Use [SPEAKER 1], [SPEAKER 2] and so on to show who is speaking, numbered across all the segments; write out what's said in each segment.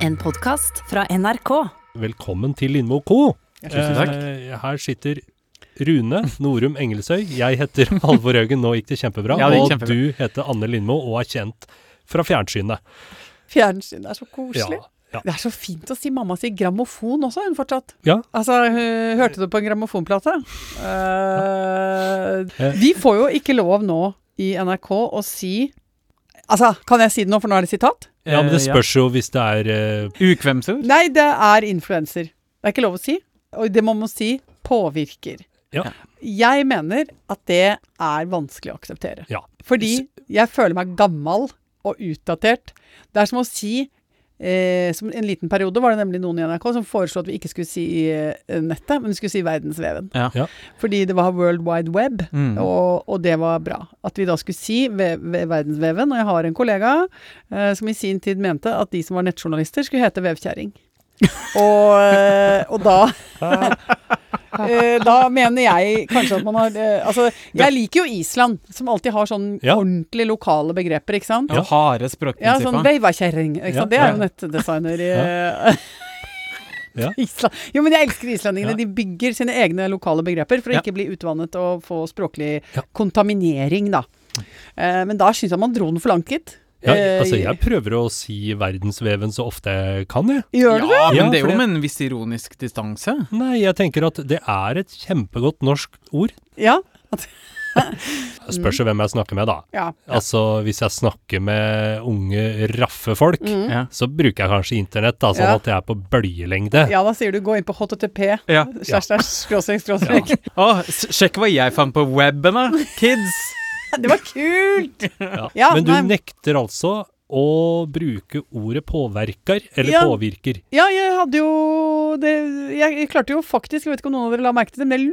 [SPEAKER 1] En podkast fra NRK.
[SPEAKER 2] Velkommen til Lindmo co.
[SPEAKER 3] Tusen takk.
[SPEAKER 2] Eh, her sitter Rune Norum Engelsøy. Jeg heter Halvor Haugen, nå gikk det kjempebra.
[SPEAKER 3] Ja, det gikk
[SPEAKER 2] og
[SPEAKER 3] kjempebra.
[SPEAKER 2] du heter Anne Lindmo og er kjent fra fjernsynet.
[SPEAKER 4] Fjernsyn det er så
[SPEAKER 2] Ja,
[SPEAKER 4] koselig.
[SPEAKER 2] ja.
[SPEAKER 4] Det er så fint å si. Mamma sier grammofon også, hun fortsatt.
[SPEAKER 2] Ja.
[SPEAKER 4] Altså, hun- hørte du på en grammofonplate? Eh,
[SPEAKER 2] Eh.
[SPEAKER 4] vi får jo ikke lov nå i NRK å si Altså, kan jeg si det nå, for nå er det sitat?
[SPEAKER 2] ja, men det
[SPEAKER 3] Eh,
[SPEAKER 2] spørs jo hvis det er eh,
[SPEAKER 3] Ukvemsord?
[SPEAKER 4] Nei, det er influenser. Det er ikke lov å si. Og det må man si påvirker.
[SPEAKER 2] Ja.
[SPEAKER 4] Jeg mener at det er vanskelig å akseptere.
[SPEAKER 2] Ja.
[SPEAKER 4] Fordi jeg føler meg gammel og utdatert. Det er som å si eh, som En liten periode var det nemlig noen i NRK som foreslo at vi ikke skulle si eh, nettet, men vi skulle si verdensveven.
[SPEAKER 3] Ja.
[SPEAKER 2] Ja.
[SPEAKER 4] Fordi det var World Wide Web.
[SPEAKER 3] Mm.
[SPEAKER 4] Og, og det var bra. At vi da skulle si ved, ved verdensveven, og jeg har en kollega eh, som i sin tid mente at de som var nettjournalister skulle hete vevkjerring. Og, eh, og da eh, Da mener jeg kanskje at man har eh, Altså, jeg liker jo Island, som alltid har sånn
[SPEAKER 2] Ja.
[SPEAKER 4] ordentlig lokale begreper, ikke sant?
[SPEAKER 3] Og harde
[SPEAKER 4] Ja, sånn
[SPEAKER 3] språkprinsipper.
[SPEAKER 4] veivakjerring. ikke sant?
[SPEAKER 2] Ja,
[SPEAKER 4] Det er jo
[SPEAKER 2] ja.
[SPEAKER 4] nettdesigner i
[SPEAKER 2] Ja.
[SPEAKER 4] Island. Jo, men jeg elsker islendingene.
[SPEAKER 2] Ja.
[SPEAKER 4] De bygger sine egne lokale begreper for å
[SPEAKER 2] Ja.
[SPEAKER 4] ikke bli utvannet og få språklig
[SPEAKER 2] Ja.
[SPEAKER 4] kontaminering, da. Eh, men da syns jeg man dro den for langt, gitt.
[SPEAKER 2] ja,
[SPEAKER 4] Eh,
[SPEAKER 2] altså, jeg prøver å si verdensveven så ofte jeg kan, jeg.
[SPEAKER 4] Gjør du det?
[SPEAKER 3] Ja,
[SPEAKER 2] Ja,
[SPEAKER 3] men det er
[SPEAKER 2] fordi-
[SPEAKER 3] jo med en viss ironisk distanse.
[SPEAKER 2] Nei, jeg tenker at det er et kjempegodt norsk ord.
[SPEAKER 4] Ja.
[SPEAKER 2] Spørs jo hvem jeg snakker med, da.
[SPEAKER 4] ja.
[SPEAKER 2] Altså, hvis jeg snakker med unge, raffe folk,
[SPEAKER 3] Ja.
[SPEAKER 2] så bruker jeg kanskje internett, da, sånn
[SPEAKER 4] Ja.
[SPEAKER 2] at jeg er på bølgelengde.
[SPEAKER 4] Ja, da sier du gå inn på http.
[SPEAKER 3] Ja.
[SPEAKER 4] Slash, slash, skråstrek, skråstrek.
[SPEAKER 3] Å, s- sjekk hva jeg fant på webben, da, kids!
[SPEAKER 4] Det var kult!
[SPEAKER 2] Ja.
[SPEAKER 4] Ja,
[SPEAKER 2] Men du
[SPEAKER 4] nei.
[SPEAKER 2] nekter altså å bruke ordet påverker, eller
[SPEAKER 4] Ja.
[SPEAKER 2] påvirker.
[SPEAKER 4] Ja, jeg hadde jo det, Jeg klarte jo faktisk, jeg vet ikke om noen av dere la merke til det, men jeg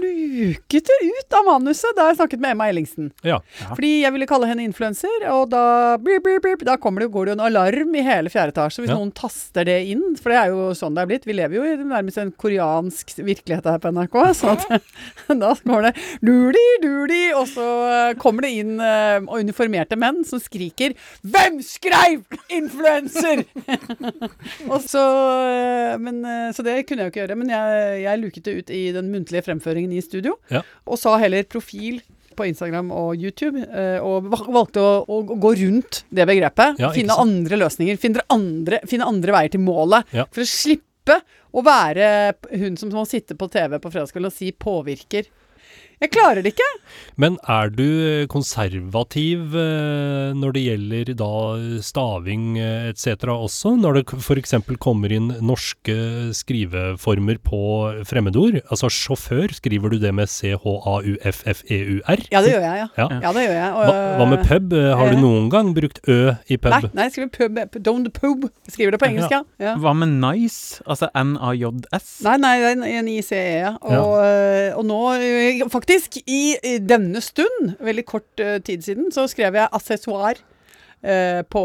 [SPEAKER 4] luket det ut av manuset da jeg snakket med Emma Ellingsen.
[SPEAKER 2] Ja.
[SPEAKER 4] Fordi jeg ville kalle henne influenser, og da blip, blip, blip, Da kommer det, går det jo en alarm i hele fjerde etasje hvis
[SPEAKER 2] Ja.
[SPEAKER 4] noen taster det inn. For det er jo sånn det er blitt. Vi lever jo i nærmest en koreansk virkelighet her på NRK. Så at, da går det duli, duli, og så eh, kommer det inn eh, uniformerte menn som skriker 'Hvem skreiv influenser?!' og så, eh, men, eh, så det kunne jeg jo ikke gjøre. Men jeg, jeg luket det ut i den muntlige fremføringen i studio og sa heller profil på Instagram og YouTube, eh, og va- valgte å, å å gå rundt det begrepet.
[SPEAKER 2] Ja, ikke
[SPEAKER 4] finne
[SPEAKER 2] sant.
[SPEAKER 4] andre løsninger, finne andre, finne andre veier til målet.
[SPEAKER 2] Ja.
[SPEAKER 4] For å slippe å være p- hun som må sitte på TV på fredagskvelden og si 'påvirker'. Jeg klarer det ikke.
[SPEAKER 2] Men er du konservativ eh, når det gjelder da staving etc. også, når det f.eks. kommer inn norske skriveformer på fremmedord? Altså sjåfør, skriver du det med C-H-A-U-F-F-E-U-R?
[SPEAKER 4] Ja, det gjør jeg, ja.
[SPEAKER 2] E Ja.
[SPEAKER 4] Ja, det gjør jeg.
[SPEAKER 2] Hva, hva med pub? Eh, Har
[SPEAKER 4] eh.
[SPEAKER 2] du noen gang brukt ø i pub?
[SPEAKER 4] Nei, nei, jeg skriver pub, p- don't the pub. Jeg Skriver det på engelsk, ja. ja.
[SPEAKER 3] Hva med nice? Altså N-A-J-S?
[SPEAKER 4] Nei, nei, det er en ICE, ja. Og, og nå, eh, faktisk, i eh, denne stund, veldig kort eh, tid siden, så skrev jeg accessoire eh, på,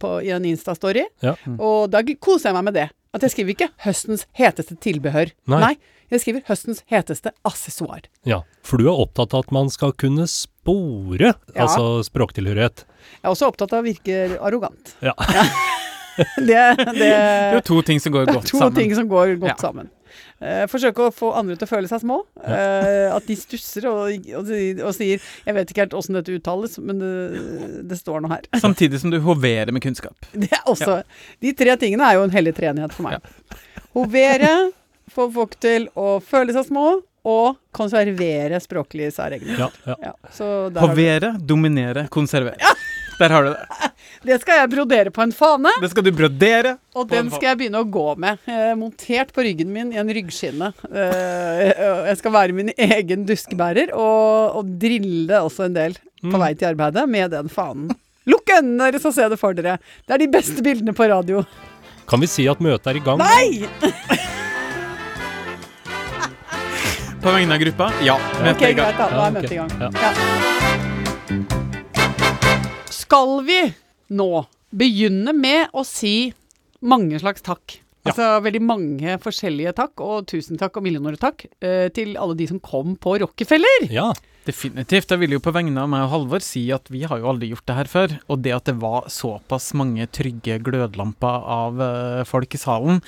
[SPEAKER 4] på, i en Insta-story.
[SPEAKER 2] Ja.
[SPEAKER 4] Og da g- koser jeg meg med det. At jeg skriver ikke 'høstens heteste tilbehør'.
[SPEAKER 2] Nei.
[SPEAKER 4] jeg skriver 'høstens heteste accessoire'.
[SPEAKER 2] Ja, for du er opptatt av at man skal kunne spore,
[SPEAKER 4] Ja.
[SPEAKER 2] altså språktilhørighet.
[SPEAKER 4] Jeg er også opptatt av å virke arrogant.
[SPEAKER 2] Ja.
[SPEAKER 4] Det,
[SPEAKER 3] Det er
[SPEAKER 4] det
[SPEAKER 3] jo to ting som går godt
[SPEAKER 4] to
[SPEAKER 3] sammen.
[SPEAKER 4] ting som går godt
[SPEAKER 3] Ja.
[SPEAKER 4] sammen. Eh, forsøke å få andre til å føle seg små. Eh, at de stusser og, og, de- og sier 'Jeg vet ikke helt åssen dette uttales, men det, det står nå her'.
[SPEAKER 3] Samtidig som du hoverer med kunnskap.
[SPEAKER 4] Det er også, De tre tingene er jo en hellig treenighet for meg. Hovere, få folk til å føle seg små, og konservere språklige særegne.
[SPEAKER 2] Ja, ja.
[SPEAKER 4] Ja, så der har du-
[SPEAKER 3] Hovere, dominere, konservere. Der har du det.
[SPEAKER 4] det skal jeg brodere på en fane,
[SPEAKER 3] Det skal du brodere.
[SPEAKER 4] og
[SPEAKER 3] På en
[SPEAKER 4] den
[SPEAKER 3] fa-
[SPEAKER 4] skal jeg begynne å gå med. Eh, montert på ryggen min i en ryggskinne. Eh, og jeg skal være min egen duskebærer, og, og drille også en del på vei til arbeidet med den fanen. Lukk øynene deres og se det for dere. Det er de beste bildene på radio.
[SPEAKER 2] Kan vi si at møtet er i gang?
[SPEAKER 4] Nei!
[SPEAKER 3] På vegne av gruppa? Ja.
[SPEAKER 4] Ok,
[SPEAKER 3] møter i gang.
[SPEAKER 4] greit, da. Nå
[SPEAKER 2] Ja,
[SPEAKER 4] er møtet
[SPEAKER 2] ok.
[SPEAKER 4] i gang.
[SPEAKER 2] Ja.
[SPEAKER 4] Ja. Skal vi nå begynne med å si mange slags takk? Altså veldig mange forskjellige takk, og tusen takk og millioner takk eh, til alle de som kom på Rockefeller.
[SPEAKER 2] Ja,
[SPEAKER 3] Definitivt. Jeg vil jo på vegne av meg og Halvor si at vi har jo aldri gjort det her før. Og det at det var såpass mange trygge glødlamper av eh, folk i salen,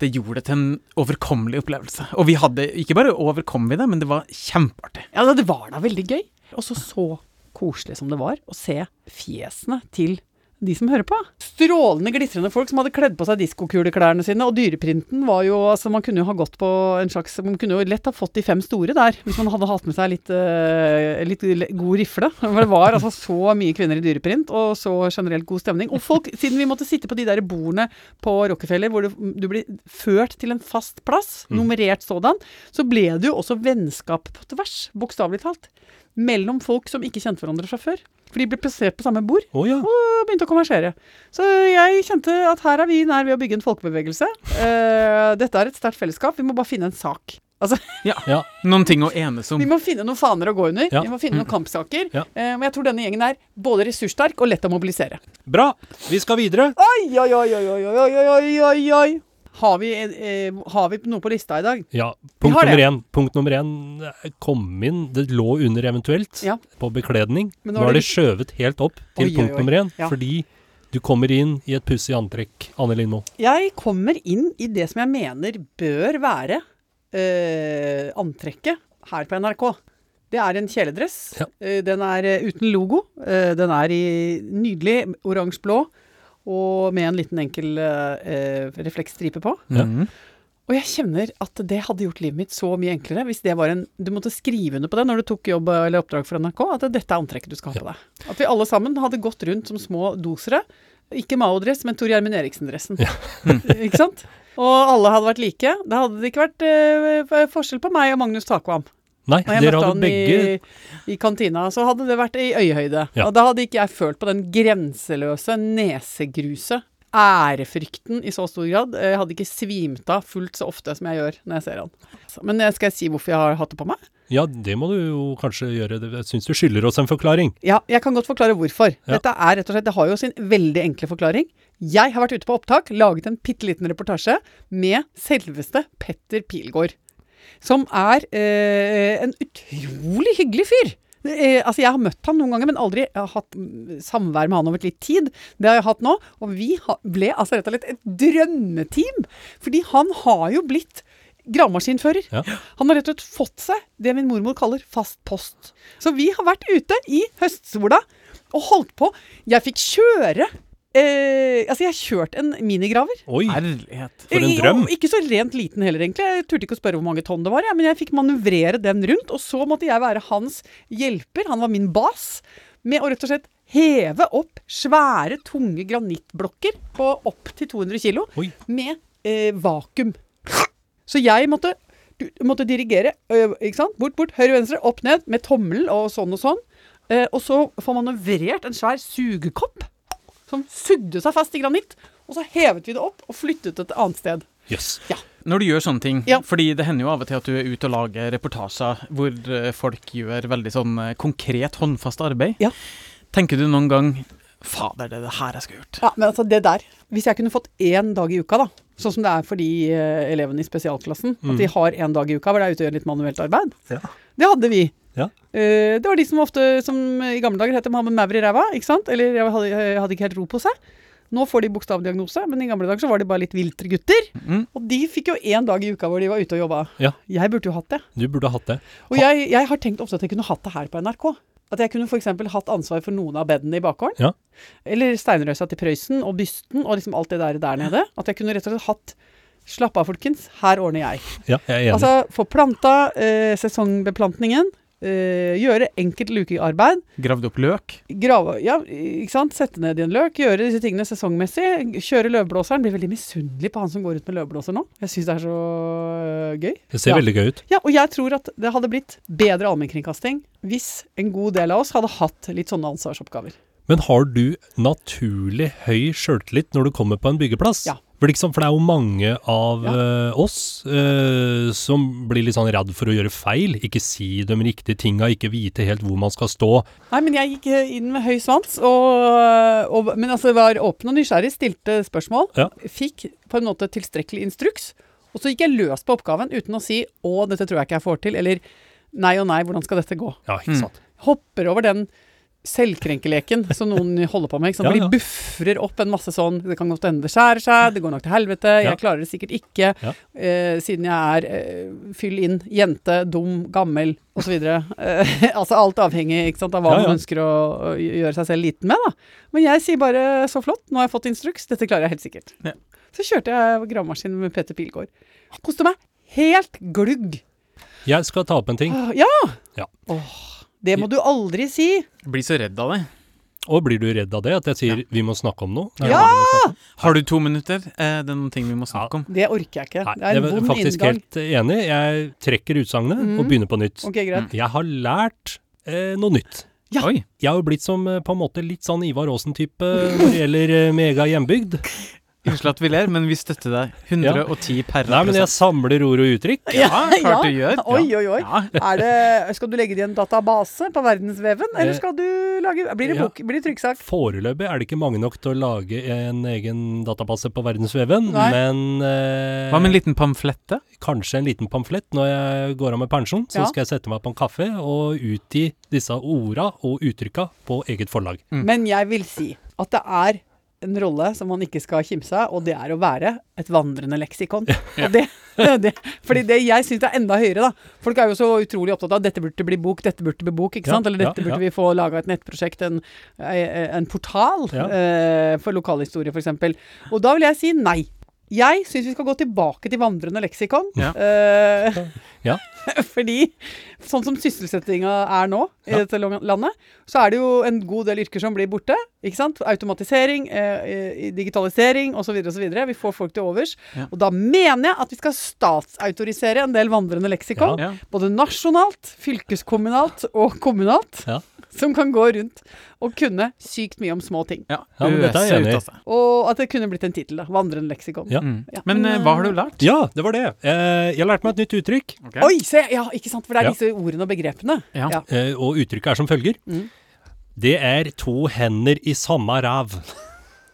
[SPEAKER 3] det gjorde det til en overkommelig opplevelse. Og vi hadde ikke bare overkom vi det, men det var kjempeartig.
[SPEAKER 4] Ja, da, det var da veldig gøy. Og så så koselig som det var å se fjesene til de som hører på. Strålende, glitrende folk som hadde kledd på seg diskokuleklærne sine. Og dyreprinten var jo altså Man kunne jo ha gått på en slags Man kunne jo lett ha fått de fem store der, hvis man hadde hatt med seg litt, eh, litt le- god rifle. For det var altså så mye kvinner i dyreprint, og så generelt god stemning. Og folk, siden vi måtte sitte på de der bordene på Rockefeller, hvor du, du blir ført til en fast plass, nummerert sådan, så ble det jo også vennskap på tvers, bokstavelig talt, mellom folk som ikke kjente hverandre fra før. For de ble plassert på samme bord
[SPEAKER 2] Å ja.
[SPEAKER 4] og begynte å konversere. Så jeg kjente at her er vi nær ved å bygge en folkebevegelse. Eh, dette er et sterkt fellesskap, vi må bare finne en sak. Altså,
[SPEAKER 2] ja.
[SPEAKER 3] Noen ting å enes om.
[SPEAKER 4] vi må finne noen faner å gå under,
[SPEAKER 2] Ja. Mm.
[SPEAKER 4] vi må finne noen kampsaker.
[SPEAKER 2] Ja.
[SPEAKER 4] Eh, men jeg tror denne gjengen er både ressurssterk og lett å mobilisere.
[SPEAKER 2] Bra. Vi skal videre.
[SPEAKER 4] Oi, oi, oi, oi, oi, oi, oi, oi, oi, oi. Har vi, eh, har vi noe på lista i dag?
[SPEAKER 2] Ja,
[SPEAKER 4] Vi
[SPEAKER 2] punkt
[SPEAKER 4] har
[SPEAKER 2] nummer
[SPEAKER 4] det.
[SPEAKER 2] én. Punkt nummer én eh, kom inn, det lå under eventuelt,
[SPEAKER 4] Ja.
[SPEAKER 2] på bekledning.
[SPEAKER 4] Men
[SPEAKER 2] Nå er det skjøvet helt opp til
[SPEAKER 4] Oi, oi,
[SPEAKER 2] punkt
[SPEAKER 4] oi.
[SPEAKER 2] nummer én,
[SPEAKER 4] Ja.
[SPEAKER 2] fordi du kommer inn i et pussig antrekk, Anne Lindmo.
[SPEAKER 4] Jeg kommer inn i det som jeg mener bør være eh, antrekket her på NRK. Det er en kjeledress.
[SPEAKER 2] Ja.
[SPEAKER 4] Eh, den er eh, uten logo. Eh, den er i nydelig oransje-blå og med en liten enkel eh, eh, refleksstripe på.
[SPEAKER 2] Ja.
[SPEAKER 3] Mm.
[SPEAKER 4] Og jeg kjenner at det hadde gjort livet mitt så mye enklere hvis det var en Du måtte skrive under på det når du tok jobb eller oppdrag for NRK, at dette er antrekket du skal ha på deg. At vi alle sammen hadde gått rundt som små dosere. Ikke Mao-dress, men Tor Gjermund Eriksen-dressen. ikke sant? Og alle hadde vært like. Da hadde det ikke vært eh, forskjell på meg og Magnus Takvam.
[SPEAKER 2] Nei,
[SPEAKER 4] Når jeg
[SPEAKER 2] dere
[SPEAKER 4] møtte
[SPEAKER 2] hadde
[SPEAKER 4] han
[SPEAKER 2] begge
[SPEAKER 4] i, i kantina, så hadde det vært i øyehøyde.
[SPEAKER 2] Ja.
[SPEAKER 4] Og da hadde ikke jeg følt på den grenseløse nesegruset. Ærefrykten i så stor grad. Jeg hadde ikke svimt av fullt så ofte som jeg gjør når jeg ser han. Så, men eh, skal jeg si hvorfor jeg har hatt det på meg?
[SPEAKER 2] Ja, det må du jo kanskje gjøre. Det- Jeg syns du skylder oss en forklaring.
[SPEAKER 4] Ja, jeg kan godt forklare hvorfor.
[SPEAKER 2] Ja.
[SPEAKER 4] Dette er rett og slett, Det har jo sin veldig enkle forklaring. Jeg har vært ute på opptak, laget en bitte liten reportasje med selveste Petter Pilgaard. Som er eh, en utrolig hyggelig fyr. Eh, altså Jeg har møtt han noen ganger, men aldri jeg har hatt mm, samvær med han over litt tid. Det har jeg hatt nå. Og vi ha, ble altså rett og slett et drømmeteam. Fordi han har jo blitt gravemaskinfører.
[SPEAKER 2] Ja.
[SPEAKER 4] Han har rett og slett fått seg det min mormor kaller fast post. Så vi har vært ute i høstsola og holdt på. Jeg fikk kjøre eh, Altså, jeg kjørte en minigraver.
[SPEAKER 2] Oi,
[SPEAKER 3] Herlighet.
[SPEAKER 2] for en
[SPEAKER 4] I-
[SPEAKER 2] drøm.
[SPEAKER 4] Og ikke så rent liten heller, egentlig. Jeg turte ikke å spørre hvor mange tonn det var, jeg, men jeg fikk manøvrere den rundt. Og så måtte jeg være hans hjelper, han var min bas, med å rett og slett heve opp svære, tunge granittblokker på opptil 200 kilo
[SPEAKER 2] Oi.
[SPEAKER 4] med eh, vakuum. Så jeg måtte, du, måtte dirigere ø, ikke sant? bort, bort, høyre, venstre, opp, ned, med tommel og sånn og sånn. Eh, og så får manøvrert en svær sugekopp som sugde seg fast i granitt. Og så hevet vi det opp og flyttet det et annet sted.
[SPEAKER 2] Jøss.
[SPEAKER 3] Når du gjør sånne ting,
[SPEAKER 4] Ja.
[SPEAKER 3] fordi det hender jo av og til at du er ute og lager reportasjer hvor eh, folk gjør veldig sånn eh, konkret, håndfast arbeid,
[SPEAKER 4] Ja.
[SPEAKER 3] tenker du noen gang Fader, det er det her jeg skulle gjort.
[SPEAKER 4] Ja, men altså det der Hvis jeg kunne fått én dag i uka, da. Sånn som det er for de eh, elevene i spesialklassen. At de har én dag i uka hvor de er ute og gjør litt manuelt arbeid.
[SPEAKER 2] Mm. Ja.
[SPEAKER 4] Det hadde vi.
[SPEAKER 2] Ja.
[SPEAKER 4] Eh, det var de som ofte, som i gamle dager het de har med maur i ræva, ikke sant? Eller jeg hadde, jeg hadde ikke helt ro på seg. Nå får de bokstavdiagnose, men i gamle dager så var de bare litt viltre gutter.
[SPEAKER 3] Mm.
[SPEAKER 4] Og de fikk jo én dag i uka hvor de var ute og jobba.
[SPEAKER 2] Ja.
[SPEAKER 4] Jeg burde jo hatt det.
[SPEAKER 2] Du burde hatt det.
[SPEAKER 4] Og jeg, jeg har tenkt ofte at jeg kunne hatt det her på NRK. At jeg kunne f.eks. hatt ansvar for noen av bedene i bakgården.
[SPEAKER 2] Ja.
[SPEAKER 4] Eller steinrøysa til Prøysen og bysten og liksom alt det der der nede. At jeg kunne rett og slett hatt Slapp av, folkens. Her ordner jeg.
[SPEAKER 2] Ja, jeg er enig.
[SPEAKER 4] Altså få planta eh, sesongbeplantningen. Eh, gjøre enkelt lukearbeid.
[SPEAKER 3] Gravd opp løk.
[SPEAKER 4] Grave, ja, ikke sant? Sette ned i en løk. Gjøre disse tingene sesongmessig. Kjøre løvblåseren. Blir veldig misunnelig på han som går ut med løvblåser nå. Jeg syns det er så eh, gøy.
[SPEAKER 2] det ser
[SPEAKER 4] ja.
[SPEAKER 2] veldig gøy ut.
[SPEAKER 4] Ja, og jeg tror at det hadde blitt bedre allmennkringkasting hvis en god del av oss hadde hatt litt sånne ansvarsoppgaver.
[SPEAKER 2] Men har du naturlig høy sjøltillit når du kommer på en byggeplass?
[SPEAKER 4] Ja.
[SPEAKER 2] For, liksom, for det er jo mange av eh, oss eh, som blir litt sånn redd for å gjøre feil. Ikke si de riktige tinga, ikke vite helt hvor man skal stå.
[SPEAKER 4] Nei, men jeg gikk eh, inn med høy svans, og, og, men altså var åpen og nysgjerrig, stilte spørsmål.
[SPEAKER 2] Ja.
[SPEAKER 4] Fikk på en måte tilstrekkelig instruks, og så gikk jeg løs på oppgaven uten å si 'å, dette tror jeg ikke jeg får til', eller Nei og nei, hvordan skal dette gå?
[SPEAKER 2] Ja,
[SPEAKER 3] Mm.
[SPEAKER 2] ikke sant.
[SPEAKER 4] Hopper over den selvkrenkeleken som noen holder på med. Ikke sant?
[SPEAKER 2] Ja,
[SPEAKER 4] For
[SPEAKER 2] ja.
[SPEAKER 4] de bufrer opp en masse sånn Det kan godt hende det skjærer seg, det går nok til helvete,
[SPEAKER 2] Ja.
[SPEAKER 4] jeg klarer det sikkert ikke,
[SPEAKER 2] Ja.
[SPEAKER 4] eh, siden jeg er eh, fyll inn, jente, dum, gammel osv. Eh, altså alt avhengig ikke sant, av hva
[SPEAKER 2] Ja, ja.
[SPEAKER 4] man ønsker å, å gjøre seg selv liten med. Da. Men jeg sier bare så flott, nå har jeg fått instruks, dette klarer jeg helt sikkert.
[SPEAKER 3] Ja.
[SPEAKER 4] Så kjørte jeg gravemaskin med Peter Pilgaard. Koste meg helt glugg.
[SPEAKER 2] Jeg skal ta opp en ting.
[SPEAKER 4] Åh, Ja!
[SPEAKER 2] Ja.
[SPEAKER 4] Åh, det må du aldri si.
[SPEAKER 3] Blir så redd av det.
[SPEAKER 2] Og blir du redd av det, at jeg sier 'vi må snakke om noe'? Nei,
[SPEAKER 4] Ja!
[SPEAKER 2] vi må snakke om-
[SPEAKER 3] Har du to minutter? Eh, det er noen ting vi må snakke om.
[SPEAKER 4] Det orker jeg ikke.
[SPEAKER 2] Nei,
[SPEAKER 4] det er
[SPEAKER 2] jeg
[SPEAKER 4] en
[SPEAKER 2] er
[SPEAKER 4] vond
[SPEAKER 2] faktisk
[SPEAKER 4] inngang. Mm.
[SPEAKER 2] helt enig. Jeg trekker utsagnet og begynner på nytt.
[SPEAKER 4] Ok, greit.
[SPEAKER 2] Jeg har lært eh, noe nytt.
[SPEAKER 4] Ja.
[SPEAKER 3] Oi.
[SPEAKER 2] Jeg har jo blitt som eh, på en måte litt sånn Ivar Aasen-type når det gjelder eh, mega hjembygd.
[SPEAKER 3] Unnskyld at vi ler, men vi støtter deg. 110 per
[SPEAKER 2] Nei, men jeg samler ord og uttrykk.
[SPEAKER 3] Ja, klart du
[SPEAKER 4] Ja.
[SPEAKER 3] gjør.
[SPEAKER 2] Mm.
[SPEAKER 4] Oi, oi, oi.
[SPEAKER 3] Ja.
[SPEAKER 2] eh.
[SPEAKER 4] Er det, skal du legge det i en database på verdensveven, eller
[SPEAKER 2] Eh,
[SPEAKER 4] skal du lage Blir det,
[SPEAKER 2] ja.
[SPEAKER 4] bok, blir det trykksak?
[SPEAKER 2] Foreløpig er det ikke mange nok til å lage en egen database på verdensveven,
[SPEAKER 4] Nei.
[SPEAKER 2] men eh,
[SPEAKER 3] Hva med en liten pamflette?
[SPEAKER 2] kanskje en liten pamflett når jeg går av med pensjon. Så
[SPEAKER 4] Ja.
[SPEAKER 2] skal jeg sette meg på en kaffe og utgi disse orda og uttrykka på eget forlag.
[SPEAKER 4] Men jeg vil si at det er en rolle som man ikke skal kimse av, og det er å være et vandrende leksikon. Og det, det, fordi det jeg syns er enda høyere, da. Folk er jo så utrolig opptatt av 'dette burde bli bok', 'dette burde bli bok', ikke
[SPEAKER 2] Ja,
[SPEAKER 4] sant? Eller
[SPEAKER 2] ja,
[SPEAKER 4] 'dette burde
[SPEAKER 2] ja.
[SPEAKER 4] vi få laga et nettprosjekt', en, eh, en portal
[SPEAKER 2] Ja.
[SPEAKER 4] eh, for lokalhistorie, f.eks. Og da vil jeg si nei. Jeg syns vi skal gå tilbake til vandrende leksikon.
[SPEAKER 3] Ja.
[SPEAKER 4] Eh,
[SPEAKER 2] Ja.
[SPEAKER 4] fordi sånn som sysselsettinga er nå i
[SPEAKER 2] Ja.
[SPEAKER 4] dette lo- landet, så er det jo en god del yrker som blir borte. ikke sant? Automatisering, eh, eh, digitalisering osv. osv. Vi får folk til overs.
[SPEAKER 3] Ja.
[SPEAKER 4] Og da mener jeg at vi skal statsautorisere en del vandrende leksikon.
[SPEAKER 3] Ja.
[SPEAKER 4] Både nasjonalt, fylkeskommunalt og kommunalt.
[SPEAKER 2] Ja.
[SPEAKER 4] Som kan gå rundt og kunne sykt mye om små ting.
[SPEAKER 3] Ja,
[SPEAKER 2] Ja, men dette er jeg
[SPEAKER 3] Øse ut
[SPEAKER 2] enig i.
[SPEAKER 3] av seg.
[SPEAKER 4] Og at det kunne blitt en tittel. da, Vandrende leksikon.
[SPEAKER 2] Ja.
[SPEAKER 3] Mm.
[SPEAKER 4] Ja,
[SPEAKER 3] Men
[SPEAKER 4] men,
[SPEAKER 3] eh, hva har du lært?
[SPEAKER 2] Ja, det var det. Eh, jeg lærte meg et nytt uttrykk,
[SPEAKER 3] Ok.
[SPEAKER 4] Oi, se! Ja, ikke sant? For det er
[SPEAKER 2] Ja.
[SPEAKER 4] disse ordene og begrepene.
[SPEAKER 3] Ja.
[SPEAKER 4] Ja.
[SPEAKER 2] eh, og uttrykket er som følger.
[SPEAKER 4] Mm.
[SPEAKER 2] Det er to hender i samme ræv.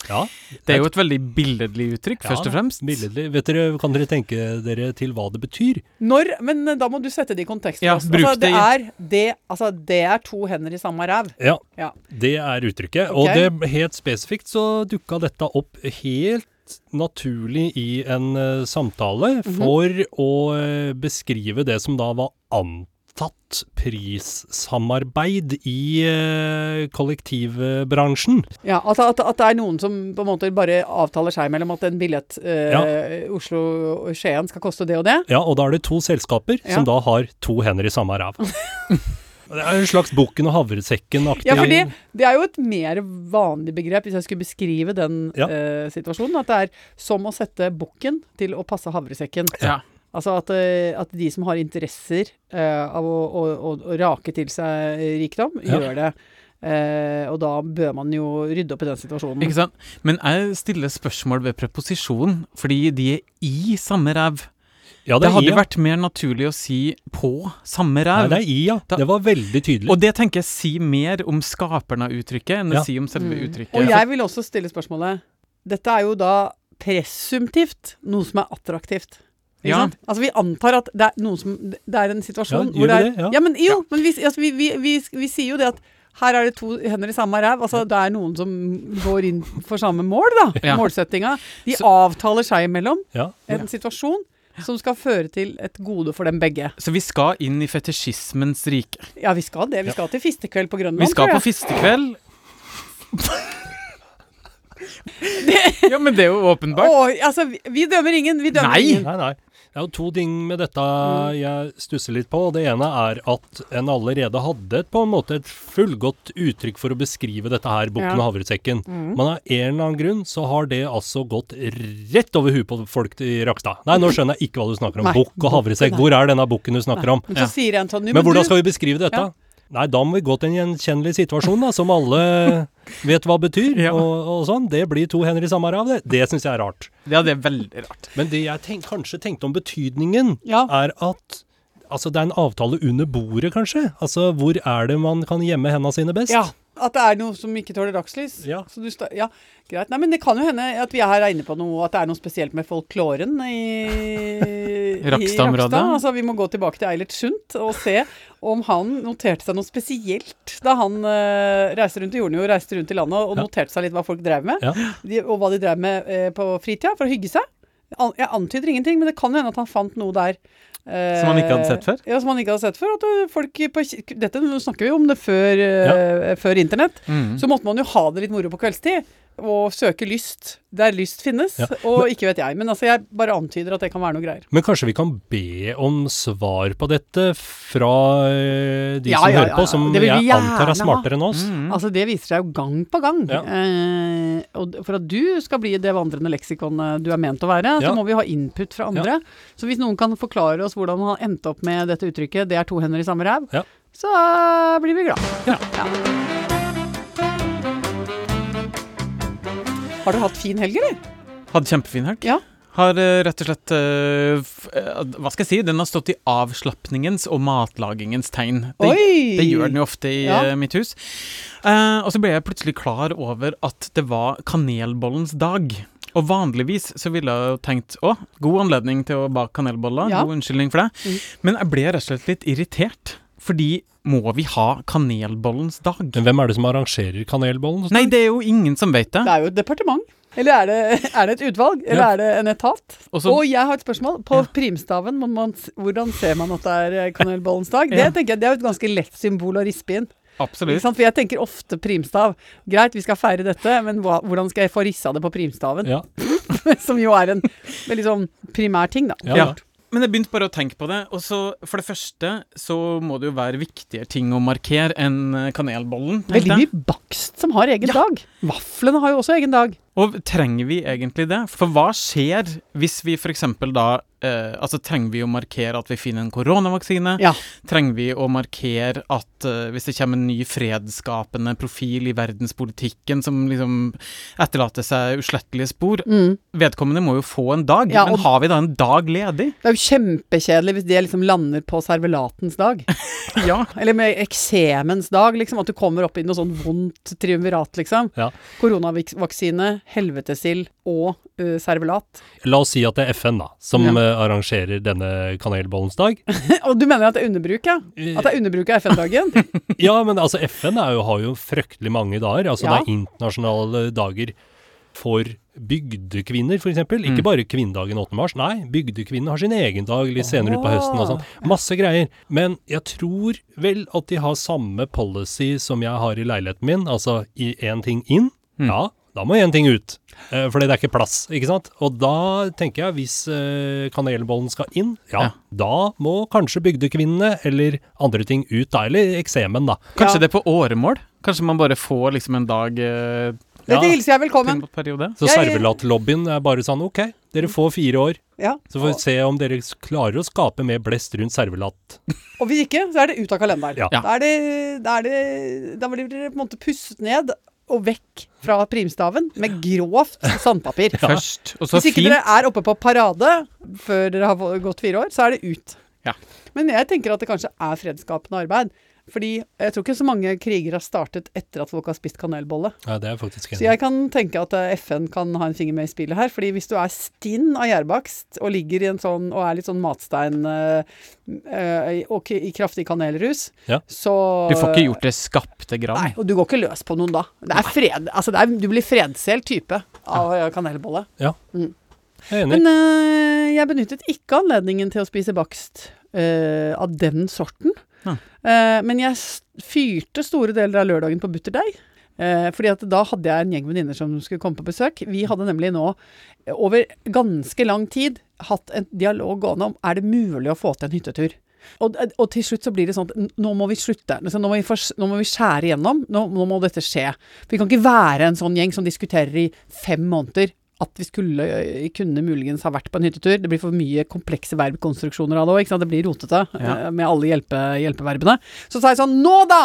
[SPEAKER 2] Ja,
[SPEAKER 3] Det er jo et veldig billedlig uttrykk,
[SPEAKER 2] ja,
[SPEAKER 3] først og fremst.
[SPEAKER 2] Billedlig. Vet dere, kan dere tenke dere til hva det betyr?
[SPEAKER 4] Når, men eh, da må du sette det i kontekst. for
[SPEAKER 3] Ja,
[SPEAKER 4] oss.
[SPEAKER 3] bruk
[SPEAKER 4] altså,
[SPEAKER 3] det
[SPEAKER 4] det,
[SPEAKER 3] i-
[SPEAKER 4] er, det, altså, det er to hender i samme ræv.
[SPEAKER 2] Ja,
[SPEAKER 4] Ja.
[SPEAKER 2] det er uttrykket.
[SPEAKER 4] Ok.
[SPEAKER 2] Og det helt spesifikt så dukka dette opp helt naturlig i en eh, samtale
[SPEAKER 4] Mhm.
[SPEAKER 2] for å eh, beskrive det som da var antatt prissamarbeid i eh, kollektivbransjen.
[SPEAKER 4] Ja, altså at, at det er noen som på en måte bare avtaler seg mellom at en billett eh, Oslo-Skien skal koste det og det.
[SPEAKER 2] Ja, og da er det to selskaper
[SPEAKER 4] Ja.
[SPEAKER 2] som da har to hender i samme ræv. det er en slags bukken og havresekken-aktig
[SPEAKER 4] Ja, for det, det er jo et mer vanlig begrep, hvis jeg skulle beskrive den
[SPEAKER 2] Ja.
[SPEAKER 4] eh, situasjonen. At det er som å sette bukken til å passe havresekken.
[SPEAKER 3] Ja.
[SPEAKER 4] Altså at, eh, at de som har interesser eh, av å, å, å, å rake til seg rikdom,
[SPEAKER 2] Ja.
[SPEAKER 4] gjør det. Eh, og da bør man jo rydde opp i den situasjonen.
[SPEAKER 3] Ikke sant? Men jeg stiller spørsmål ved preposisjonen, fordi de er i samme ræv.
[SPEAKER 2] Ja, er
[SPEAKER 3] Det
[SPEAKER 2] i,
[SPEAKER 3] hadde
[SPEAKER 2] ja.
[SPEAKER 3] vært mer naturlig å si på samme
[SPEAKER 2] Nei,
[SPEAKER 3] ræv.
[SPEAKER 2] det er i, ja.
[SPEAKER 3] Da-
[SPEAKER 2] Det var veldig tydelig.
[SPEAKER 3] og det tenker jeg sier mer om skaperen av uttrykket enn det
[SPEAKER 2] Ja.
[SPEAKER 3] sier om selve uttrykket.
[SPEAKER 4] Mm. Og jeg vil også stille spørsmålet Dette er jo da presumptivt noe som er attraktivt. Ikke
[SPEAKER 3] Ja.
[SPEAKER 4] sant? Altså Vi antar at det er, noen som, det er en situasjon
[SPEAKER 2] Ja, gjør
[SPEAKER 4] hvor det er
[SPEAKER 2] vi det? Ja.
[SPEAKER 4] men, jo, men vi, altså, vi, vi, vi, vi sier jo det at her er det to hender i samme ræv. Altså, det er noen som går inn for samme mål, da.
[SPEAKER 3] Ja.
[SPEAKER 4] Målsettinga. De
[SPEAKER 3] Så-
[SPEAKER 4] avtaler seg imellom
[SPEAKER 2] Ja.
[SPEAKER 4] en situasjon som skal føre til et gode for dem begge.
[SPEAKER 3] Så vi skal inn i fetisjismens rike.
[SPEAKER 4] Ja, vi skal det. Vi skal til fistekveld på Grønland,
[SPEAKER 3] Vi skal
[SPEAKER 4] tror
[SPEAKER 3] på
[SPEAKER 4] jeg.
[SPEAKER 3] fistekveld. ja, men det er jo åpenbart.
[SPEAKER 4] Å, altså, vi, vi dømmer ingen. Vi dømmer
[SPEAKER 3] Nei!
[SPEAKER 4] ingen. Mm.
[SPEAKER 2] Nei, nei. Det er jo to ting med dette jeg stusser litt på. Det ene er at en allerede hadde et, på en måte et fullgodt uttrykk for å beskrive dette her, bukken
[SPEAKER 4] Ja. Mm.
[SPEAKER 2] og havresekken. Men av en eller annen grunn så har det altså gått rett over huet på folk i Rakstad. Nei, nå skjønner jeg ikke hva du snakker om.
[SPEAKER 4] Nei,
[SPEAKER 2] Bukk og havresekk.
[SPEAKER 4] bukken,
[SPEAKER 2] Hvor er denne bukken du snakker om?
[SPEAKER 4] Men
[SPEAKER 3] Ja.
[SPEAKER 4] så sier en sånn «Jo,
[SPEAKER 2] Men hvordan
[SPEAKER 4] du-
[SPEAKER 2] skal vi beskrive dette?
[SPEAKER 4] Ja.
[SPEAKER 2] Nei, da må vi gå til en gjenkjennelig situasjon, da, som alle vet hva betyr.
[SPEAKER 3] Ja.
[SPEAKER 2] Og, og sånn. Det blir to hender i samme rav, det. Det syns jeg er rart.
[SPEAKER 3] Ja, det er veldig rart.
[SPEAKER 2] Men det jeg tenk, kanskje tenkte om betydningen,
[SPEAKER 4] Ja.
[SPEAKER 2] er at Altså, det er en avtale under bordet, kanskje? Altså, hvor er det man kan gjemme hendene sine best?
[SPEAKER 4] Ja, at det er noe som ikke tåler dagslys.
[SPEAKER 2] Ja.
[SPEAKER 4] Så du sta- ja, greit. Nei, men det kan jo hende at vi her er inne på noe, at det er noe spesielt med folkloren i i
[SPEAKER 3] Rakstad-området?
[SPEAKER 4] Rakstad. Altså, vi må gå tilbake til Eilert Sundt og se om han noterte seg noe spesielt da han eh, reiste rundt i jorden og reiste rundt i landet og
[SPEAKER 2] Ja.
[SPEAKER 4] noterte seg litt hva folk drev med,
[SPEAKER 2] Ja.
[SPEAKER 4] de, og hva de drev med eh, på fritida for å hygge seg. An jeg antyder ingenting, men det kan jo hende at han fant noe der. eh,
[SPEAKER 3] Som han ikke hadde sett før?
[SPEAKER 4] Ja, som han ikke hadde sett før. At eh, folk på, ki- dette snakker vi om det før, eh, før internett.
[SPEAKER 3] Mm.
[SPEAKER 4] Så måtte man jo ha det litt moro på kveldstid. Og søke lyst der lyst finnes.
[SPEAKER 2] Ja,
[SPEAKER 4] Og ikke vet jeg. Men altså, jeg bare antyder at det kan være noe greier.
[SPEAKER 2] Men kanskje vi kan be om svar på dette fra eh, de
[SPEAKER 4] Ja,
[SPEAKER 2] som
[SPEAKER 4] ja,
[SPEAKER 2] hører
[SPEAKER 4] ja,
[SPEAKER 2] på,
[SPEAKER 4] ja.
[SPEAKER 2] som
[SPEAKER 4] Det vil vi
[SPEAKER 2] jeg antar
[SPEAKER 4] gjerne ha.
[SPEAKER 2] er smartere enn oss?
[SPEAKER 3] Mm.
[SPEAKER 4] Altså, det viser seg jo gang på gang.
[SPEAKER 2] Ja.
[SPEAKER 4] Eh, og d- for at du skal bli det vandrende leksikonet du er ment å være,
[SPEAKER 2] Ja.
[SPEAKER 4] så må vi ha input fra andre. Så hvis noen kan forklare oss hvordan han endte opp med dette uttrykket, det er to hender i samme ræv,
[SPEAKER 2] Ja.
[SPEAKER 4] så blir vi glad.
[SPEAKER 2] Ja.
[SPEAKER 4] Har du hatt fin helg, eller?
[SPEAKER 3] Hadde kjempefin helg.
[SPEAKER 4] Ja.
[SPEAKER 3] Har eh, rett og slett eh, f- eh, Hva skal jeg si? Den har stått i avslapningens og matlagingens tegn. Det,
[SPEAKER 4] Oi!
[SPEAKER 3] det gjør den jo ofte i
[SPEAKER 4] Ja.
[SPEAKER 3] eh, mitt hus. Eh, og så ble jeg plutselig klar over at det var kanelbollens dag. Og vanligvis så ville jeg jo tenkt å, god anledning til å bake kanelboller,
[SPEAKER 4] Ja.
[SPEAKER 3] god unnskyldning for det.
[SPEAKER 4] Mm.
[SPEAKER 3] Men jeg ble rett og slett litt irritert, fordi må vi ha kanelbollens dag?
[SPEAKER 2] Men hvem er det som arrangerer kanelbollen?
[SPEAKER 3] Nei, det er jo ingen som vet det.
[SPEAKER 4] Det er jo et departement. Eller er det, er det et utvalg? Eller
[SPEAKER 2] Ja.
[SPEAKER 4] er det en etat?
[SPEAKER 3] Og så-
[SPEAKER 4] og jeg har et spørsmål. På primstaven, må man, s- hvordan ser man at det er eh, kanelbollens dag? Det
[SPEAKER 3] Ja.
[SPEAKER 4] tenker jeg, det er jo et ganske lett symbol å rispe inn. Ikke
[SPEAKER 3] Absolutt.
[SPEAKER 4] sant? For jeg tenker ofte primstav. Greit, vi skal feire dette, men hva, hvordan skal jeg få rissa det på primstaven?
[SPEAKER 2] Ja,
[SPEAKER 4] Som jo er en veldig sånn primær ting, da.
[SPEAKER 2] ja, ja.
[SPEAKER 3] Men jeg begynte bare å tenke på det. Og så, for det første, så må det jo være viktigere ting å markere enn eh, kanelbollen. tenkte jeg.
[SPEAKER 4] Veldig mye bakst som har egen dag. Vaflene har jo også egen dag.
[SPEAKER 3] Og trenger vi egentlig det? For hva skjer hvis vi f.eks. da eh, Altså, trenger vi å markere at vi finner en koronavaksine?
[SPEAKER 4] Ja.
[SPEAKER 3] Trenger vi å markere at eh, hvis det kommer en ny fredsskapende profil i verdenspolitikken som liksom etterlater seg uslettelige spor?
[SPEAKER 4] Mm.
[SPEAKER 3] Vedkommende må jo få en dag,
[SPEAKER 4] Ja, og-
[SPEAKER 3] men har vi da en dag ledig?
[SPEAKER 4] Det er jo kjempekjedelig hvis det liksom lander på servelatens dag.
[SPEAKER 3] Ja.
[SPEAKER 4] Eller med eksemens dag, liksom. At du kommer opp i noe sånn vondt triumvirat, liksom.
[SPEAKER 2] Ja.
[SPEAKER 4] Koronavaksine, helvetesild og eh, servelat.
[SPEAKER 2] La oss si at det er FN da, som
[SPEAKER 4] Ja.
[SPEAKER 2] eh, arrangerer denne kanelbollens dag.
[SPEAKER 4] og du mener at det er underbruk, ja?
[SPEAKER 2] Eh,
[SPEAKER 4] At det er underbruk av FN-dagen?
[SPEAKER 2] Ja, men altså FN er jo, har jo fryktelig mange dager. Altså
[SPEAKER 4] Ja.
[SPEAKER 2] det er internasjonale dager for bygdekvinner, f.eks. eksempel Ikke
[SPEAKER 3] Mm.
[SPEAKER 2] bare kvinnedagen 8. mars, nei. Bygdekvinnen har sin egen dag litt senere utpå høsten og sånn. Masse greier. Men jeg tror vel at de har samme policy som jeg har i leiligheten min. Altså i én ting inn,
[SPEAKER 3] Mm.
[SPEAKER 2] ja, da må én ting ut. Eh, Fordi det er ikke plass, ikke sant. Og da tenker jeg, hvis eh, kanelbollen skal inn, ja,
[SPEAKER 3] Ja.
[SPEAKER 2] da må kanskje bygdekvinnene eller andre ting ut da. Eller eksemen, da.
[SPEAKER 3] Kanskje
[SPEAKER 4] Ja.
[SPEAKER 3] det er på åremål? Kanskje man bare får liksom en dag eh,
[SPEAKER 4] Dette
[SPEAKER 2] Ja.
[SPEAKER 4] hilser jeg velkommen.
[SPEAKER 3] til periode?
[SPEAKER 2] Så
[SPEAKER 4] Jeg-
[SPEAKER 2] servelatlobbyen er bare sånn OK, dere får fire år.
[SPEAKER 4] Ja.
[SPEAKER 2] Så får vi se om dere s- klarer å skape mer blest rundt servelat.
[SPEAKER 4] Og hvis ikke, så er det ut av kalenderen.
[SPEAKER 2] Ja.
[SPEAKER 4] Da, er det, da, er det, da blir dere på en måte pustet ned og vekk fra primstaven med grovt sandpapir.
[SPEAKER 3] Først, og så
[SPEAKER 4] Hvis
[SPEAKER 3] fint.
[SPEAKER 4] ikke dere er oppe på parade før dere har få- gått fire år, så er det ut.
[SPEAKER 3] Ja.
[SPEAKER 4] Men jeg tenker at det kanskje er fredsskapende arbeid. Fordi jeg tror ikke så mange kriger har startet etter at folk har spist kanelbolle.
[SPEAKER 2] Ja, det er jeg faktisk
[SPEAKER 4] Så
[SPEAKER 2] enig.
[SPEAKER 4] jeg kan tenke at eh, FN kan ha en finger med i spillet her. fordi hvis du er stinn av gjærbakst og ligger i en sånn, og er litt sånn matstein eh, eh, og k- i kraftig kanelrus,
[SPEAKER 2] Ja.
[SPEAKER 4] så
[SPEAKER 3] Du får ikke gjort det skapte
[SPEAKER 4] Nei,
[SPEAKER 3] grad.
[SPEAKER 4] og du går ikke løs på noen da. Det er fred, altså det er, du blir fredselt type av eh, kanelbolle.
[SPEAKER 2] i. Jeg er enig.
[SPEAKER 4] Men eh, jeg benyttet ikke anledningen til å spise bakst eh, av den sorten.
[SPEAKER 3] Nei.
[SPEAKER 4] Eh, men jeg s- fyrte store deler av lørdagen på butterdeig. Eh, fordi at da hadde jeg en gjeng venninner som skulle komme på besøk. Vi hadde nemlig nå eh, over ganske lang tid hatt en dialog gående om er det mulig å få til en hyttetur. Og, og til slutt så blir det sånn at n- nå må vi slutte. Altså, nå, må vi fors- nå må vi skjære igjennom. Nå, nå må dette skje. For vi kan ikke være en sånn gjeng som diskuterer i fem måneder at vi skulle, ø, kunne muligens ha vært på en hyttetur. Det blir for mye komplekse verbkonstruksjoner av det òg. Det blir rotete
[SPEAKER 3] Ja.
[SPEAKER 4] ø, med alle hjelpe, hjelpeverbene. Så sa jeg sånn Nå da!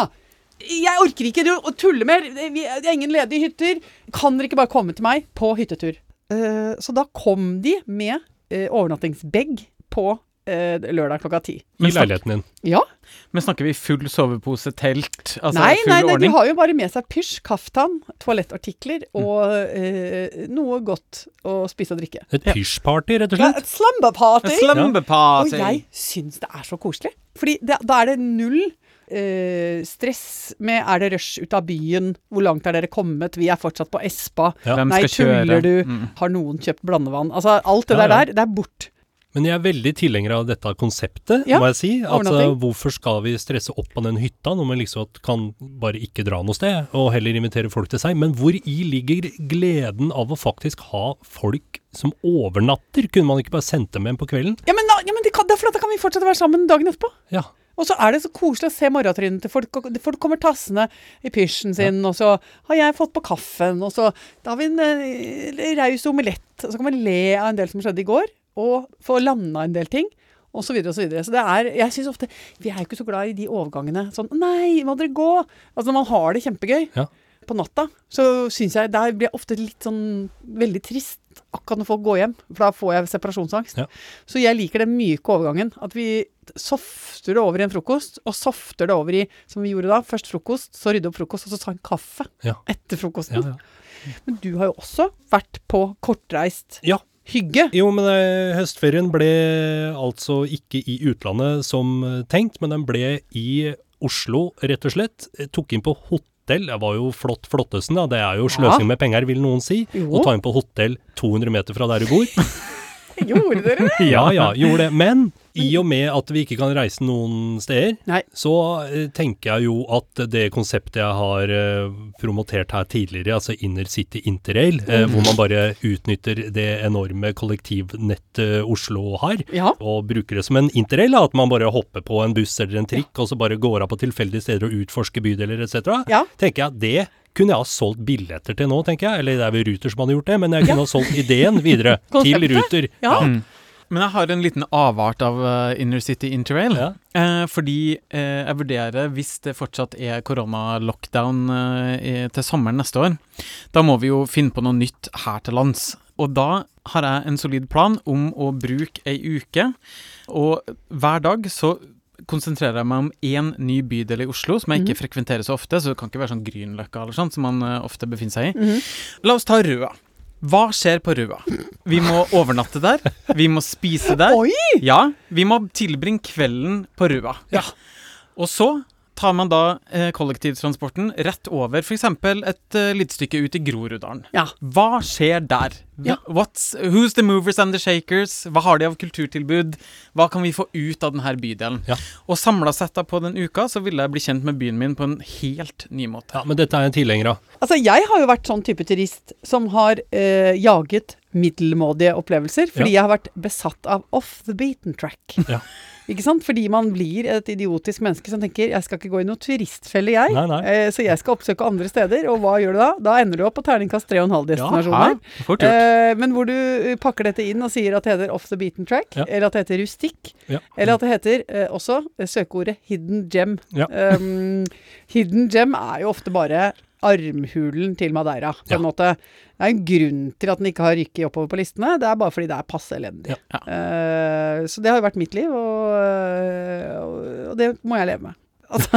[SPEAKER 4] Jeg orker ikke å å tulle mer. Vi- Det er ingen ledige hytter. Kan dere ikke bare komme til meg på hyttetur? Eh, Så da kom de med eh, overnattingsbag på eh, lørdag klokka ti.
[SPEAKER 2] I
[SPEAKER 3] Men snakk-
[SPEAKER 2] leiligheten din.
[SPEAKER 4] Ja.
[SPEAKER 3] Men snakker vi full sovepose, telt, altså
[SPEAKER 4] nei,
[SPEAKER 3] full
[SPEAKER 4] nei, nei, de
[SPEAKER 3] ordning? Mm.
[SPEAKER 4] har jo bare med seg pysj, kaftan, toalettartikler og eh, noe godt å spise og drikke.
[SPEAKER 2] Et pysjparty, rett og
[SPEAKER 4] Ja,
[SPEAKER 2] slett.
[SPEAKER 4] et slumberparty!
[SPEAKER 3] Slumber
[SPEAKER 4] Og
[SPEAKER 3] party!
[SPEAKER 4] jeg syns det er så koselig. Fordi det, da er det null eh, stress med er det rush ut av byen, hvor langt er dere kommet, vi er fortsatt på Espa,
[SPEAKER 2] Ja.
[SPEAKER 3] Hvem
[SPEAKER 4] Nei,
[SPEAKER 3] skal kjøre?
[SPEAKER 4] tuller du?
[SPEAKER 3] Mm.
[SPEAKER 4] har noen kjøpt blandevann? Altså alt det
[SPEAKER 2] Ja,
[SPEAKER 4] der
[SPEAKER 2] ja.
[SPEAKER 4] der, det er bort.
[SPEAKER 2] Men jeg er veldig tilhenger av dette konseptet,
[SPEAKER 4] Ja,
[SPEAKER 2] må jeg si. At,
[SPEAKER 4] overnatting.
[SPEAKER 2] eh, hvorfor skal vi stresse opp på den hytta når man liksom at kan bare ikke dra noe sted, og heller invitere folk til seg? Men hvor i ligger gleden av å faktisk ha folk som overnatter? Kunne man ikke bare sendt dem hjem på kvelden?
[SPEAKER 4] Ja, men, da, ja, men det kan, det er for at da kan vi fortsette å være sammen dagen etterpå.
[SPEAKER 2] Ja.
[SPEAKER 4] Og så er det så koselig å se morgentrynet til folk. og Folk kommer tassende i pysjen sin, og så har jeg fått på kaffen, og så da har vi en eh, raus omelett. Og så kan man le av en del som skjedde i går, og få landa en del ting. Og så videre og så videre. Så det er Jeg syns ofte Vi er jo ikke så glad i de overgangene. Sånn Nei, må dere gå? Altså når man har det kjempegøy
[SPEAKER 2] Ja.
[SPEAKER 4] på natta, så syns jeg Der blir jeg ofte litt sånn veldig trist akkurat når folk går hjem, for da får jeg separasjonsangst.
[SPEAKER 2] Ja.
[SPEAKER 4] Så jeg liker den myke overgangen. At vi softer det over i en frokost, og softer det over i, som vi gjorde da, først frokost, så rydde opp frokost, og så ta en kaffe
[SPEAKER 2] Ja. ja,
[SPEAKER 4] etter frokosten.
[SPEAKER 2] ja.
[SPEAKER 4] Men du har jo også vært på kortreist
[SPEAKER 2] Ja.
[SPEAKER 4] hygge.
[SPEAKER 2] Jo, men eh, høstferien ble altså ikke i utlandet som eh, tenkt, men den ble i Oslo, rett og slett. Jeg tok inn på hotell. Jeg var jo flott flottesen, da. Det er jo sløsing med penger, vil noen si.
[SPEAKER 4] Jo.
[SPEAKER 2] Å ta inn på hotell 200 meter fra der du bor.
[SPEAKER 4] Gjorde dere det?
[SPEAKER 2] Ja, ja, gjorde det. Men i og med at vi ikke kan reise noen steder,
[SPEAKER 4] Nei.
[SPEAKER 2] så eh, tenker jeg jo at det konseptet jeg har eh, promotert her tidligere, altså Innercity Interrail,
[SPEAKER 4] Mm.
[SPEAKER 2] eh, hvor man bare utnytter det enorme kollektivnettet eh, Oslo har,
[SPEAKER 4] Ja.
[SPEAKER 2] og bruker det som en interrail, da, at man bare hopper på en buss eller en trikk, og så bare går av på tilfeldige steder og utforsker bydeler etc.,
[SPEAKER 4] Ja.
[SPEAKER 2] tenker jeg at det kunne jeg ha solgt billetter til nå, tenker jeg. Eller det er vel Ruter som hadde gjort det, men jeg kunne ha solgt ideen videre til
[SPEAKER 4] Konseptet.
[SPEAKER 2] Ruter.
[SPEAKER 4] Ja.
[SPEAKER 3] Men jeg har en liten avart av eh, Inner City Interrail.
[SPEAKER 2] Ja.
[SPEAKER 3] Eh, fordi eh, jeg vurderer, hvis det fortsatt er koronalockdown eh, i- til sommeren neste år, da må vi jo finne på noe nytt her til lands. Og da har jeg en solid plan om å bruke ei uke, og hver dag så konsentrerer jeg meg om én ny bydel i Oslo som jeg ikke frekventerer så ofte, så det kan ikke være sånn Grünerløkka eller sånn som man eh, ofte befinner seg i. La oss ta Røa. Hva skjer på Røa? Vi må overnatte der, vi må spise der.
[SPEAKER 4] Oi!
[SPEAKER 3] Ja, vi må tilbringe kvelden på Røa.
[SPEAKER 2] Ja.
[SPEAKER 3] Og så tar man da eh, kollektivtransporten rett over f.eks. et eh, lite stykke ut i Groruddalen.
[SPEAKER 4] Ja.
[SPEAKER 3] Hva skjer der?
[SPEAKER 4] Ja.
[SPEAKER 3] What's, who's the movers and the shakers? Hva har de av kulturtilbud? Hva kan vi få ut av denne bydelen?
[SPEAKER 2] Ja.
[SPEAKER 3] Og samla sett da på den uka, så ville jeg bli kjent med byen min på en helt ny måte.
[SPEAKER 2] Ja, men dette er en tilhenger av.
[SPEAKER 4] Altså, jeg har jo vært sånn type turist som har eh, jaget middelmådige opplevelser, fordi jeg har vært besatt av off the beaten track.
[SPEAKER 2] Ja.
[SPEAKER 4] Ikke sant? Fordi man blir et idiotisk menneske som tenker 'jeg skal ikke gå i noen turistfelle, jeg',
[SPEAKER 2] Nei, nei.
[SPEAKER 4] eh, så jeg skal oppsøke andre steder. Og hva gjør du da? Da ender du opp på terningkast 3,5-destinasjoner.
[SPEAKER 3] Ja, fort gjort.
[SPEAKER 4] Eh, men hvor du eh, pakker dette inn og sier at det heter off the beaten track,
[SPEAKER 2] Ja.
[SPEAKER 4] eller at det heter rustikk,
[SPEAKER 2] Ja.
[SPEAKER 4] eller at det heter eh, også eh, søkeordet hidden gem.
[SPEAKER 2] Ja.
[SPEAKER 4] Um, hidden gem er jo ofte bare armhulen til Madeira, på
[SPEAKER 2] Ja.
[SPEAKER 4] en måte. Det er en grunn til at den ikke har rykket oppover på listene, det er bare fordi det er passe elendig.
[SPEAKER 2] Ja.
[SPEAKER 3] Ja.
[SPEAKER 4] Eh, så det har jo vært mitt liv, og, eh, og- og det må jeg leve med. Altså.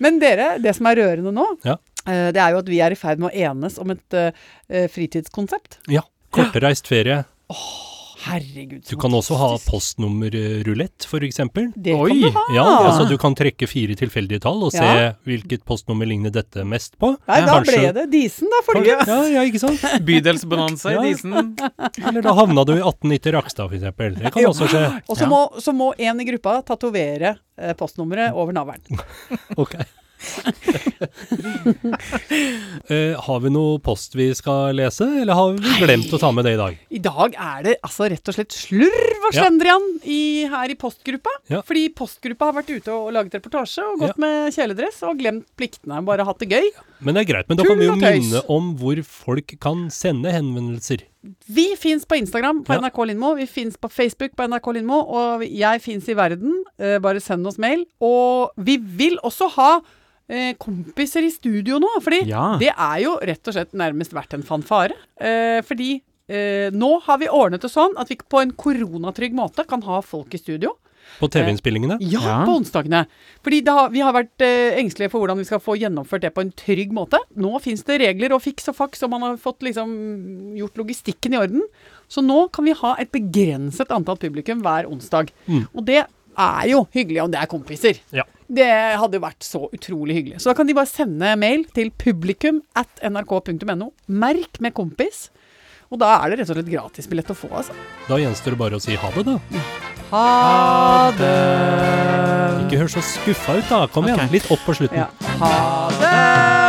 [SPEAKER 4] Men dere, det som er rørende nå,
[SPEAKER 2] Ja.
[SPEAKER 4] eh, det er jo at vi er i ferd med å enes om et eh, eh, fritidskonsept.
[SPEAKER 2] Ja. Kortreist ferie.
[SPEAKER 4] Herregud, så
[SPEAKER 2] Du kan også ha
[SPEAKER 4] fantastisk.
[SPEAKER 2] postnummerrulett, f.eks.
[SPEAKER 4] Det
[SPEAKER 3] Oi,
[SPEAKER 4] kan du ha.
[SPEAKER 2] Ja, altså du kan trekke fire tilfeldige tall og se
[SPEAKER 4] Ja.
[SPEAKER 2] hvilket postnummer ligner dette mest på.
[SPEAKER 4] Nei, da ble
[SPEAKER 2] Kanskje-
[SPEAKER 4] det Disen, da, for
[SPEAKER 2] Ja, ja, ikke sant?
[SPEAKER 3] Bydelsbonanza
[SPEAKER 2] Eh, Ja.
[SPEAKER 3] i Disen.
[SPEAKER 2] Eller da havna du i 1890 Rakstad, f.eks. Det kan også skje.
[SPEAKER 4] Og så
[SPEAKER 3] Ja.
[SPEAKER 4] må, så må en i gruppa tatovere eh, postnummeret over navlen.
[SPEAKER 2] Ok. Eh, har vi noe post vi skal lese, eller har vi glemt å ta med det i dag?
[SPEAKER 4] I dag er det altså rett og slett slurv og
[SPEAKER 2] Ja.
[SPEAKER 4] slendrian i, her i postgruppa.
[SPEAKER 2] Ja.
[SPEAKER 4] Fordi postgruppa har vært ute og, og laget reportasje og gått
[SPEAKER 2] Ja.
[SPEAKER 4] med kjeledress og glemt pliktene. Bare hatt det gøy.
[SPEAKER 2] Men det er greit. Men da
[SPEAKER 4] Tull
[SPEAKER 2] kan vi jo
[SPEAKER 4] og tøys.
[SPEAKER 2] minne om hvor folk kan sende henvendelser.
[SPEAKER 4] Vi fins på Instagram på
[SPEAKER 2] Ja.
[SPEAKER 4] NRK Lindmo, vi fins på Facebook på NRK Lindmo, og jeg fins i verden. Eh, bare send oss mail. Og vi vil også ha eh, kompiser i studio nå, fordi
[SPEAKER 2] Ah.
[SPEAKER 3] Ja.
[SPEAKER 4] det er jo rett og slett nærmest vært en fanfare. Eh, fordi eh, Nå har vi ordnet det sånn at vi på en koronatrygg måte kan ha folk i studio.
[SPEAKER 2] På TV-innspillingene?
[SPEAKER 4] Ja,
[SPEAKER 3] Ja.
[SPEAKER 4] på onsdagene. Fordi da, vi har vært eh, engstelige for hvordan vi skal få gjennomført det på en trygg måte. Nå fins det regler og fiks og faks, og man har fått liksom gjort logistikken i orden. Så nå kan vi ha et begrenset antall publikum hver onsdag.
[SPEAKER 2] Mm.
[SPEAKER 4] Og det er jo hyggelig om det er kompiser.
[SPEAKER 2] Ja.
[SPEAKER 4] Det hadde jo vært så utrolig hyggelig. Så da kan de bare sende mail til publikum at nrk.no. Merk med 'kompis'. Og da er det rett og slett gratisbillett å få, altså.
[SPEAKER 2] Da gjenstår det bare å si ha det, da.
[SPEAKER 4] Ha det!
[SPEAKER 2] Ikke hør så skuffa ut, da. Kom igjen.
[SPEAKER 3] Ok.
[SPEAKER 2] Litt opp på slutten.
[SPEAKER 4] Ja. Ha det!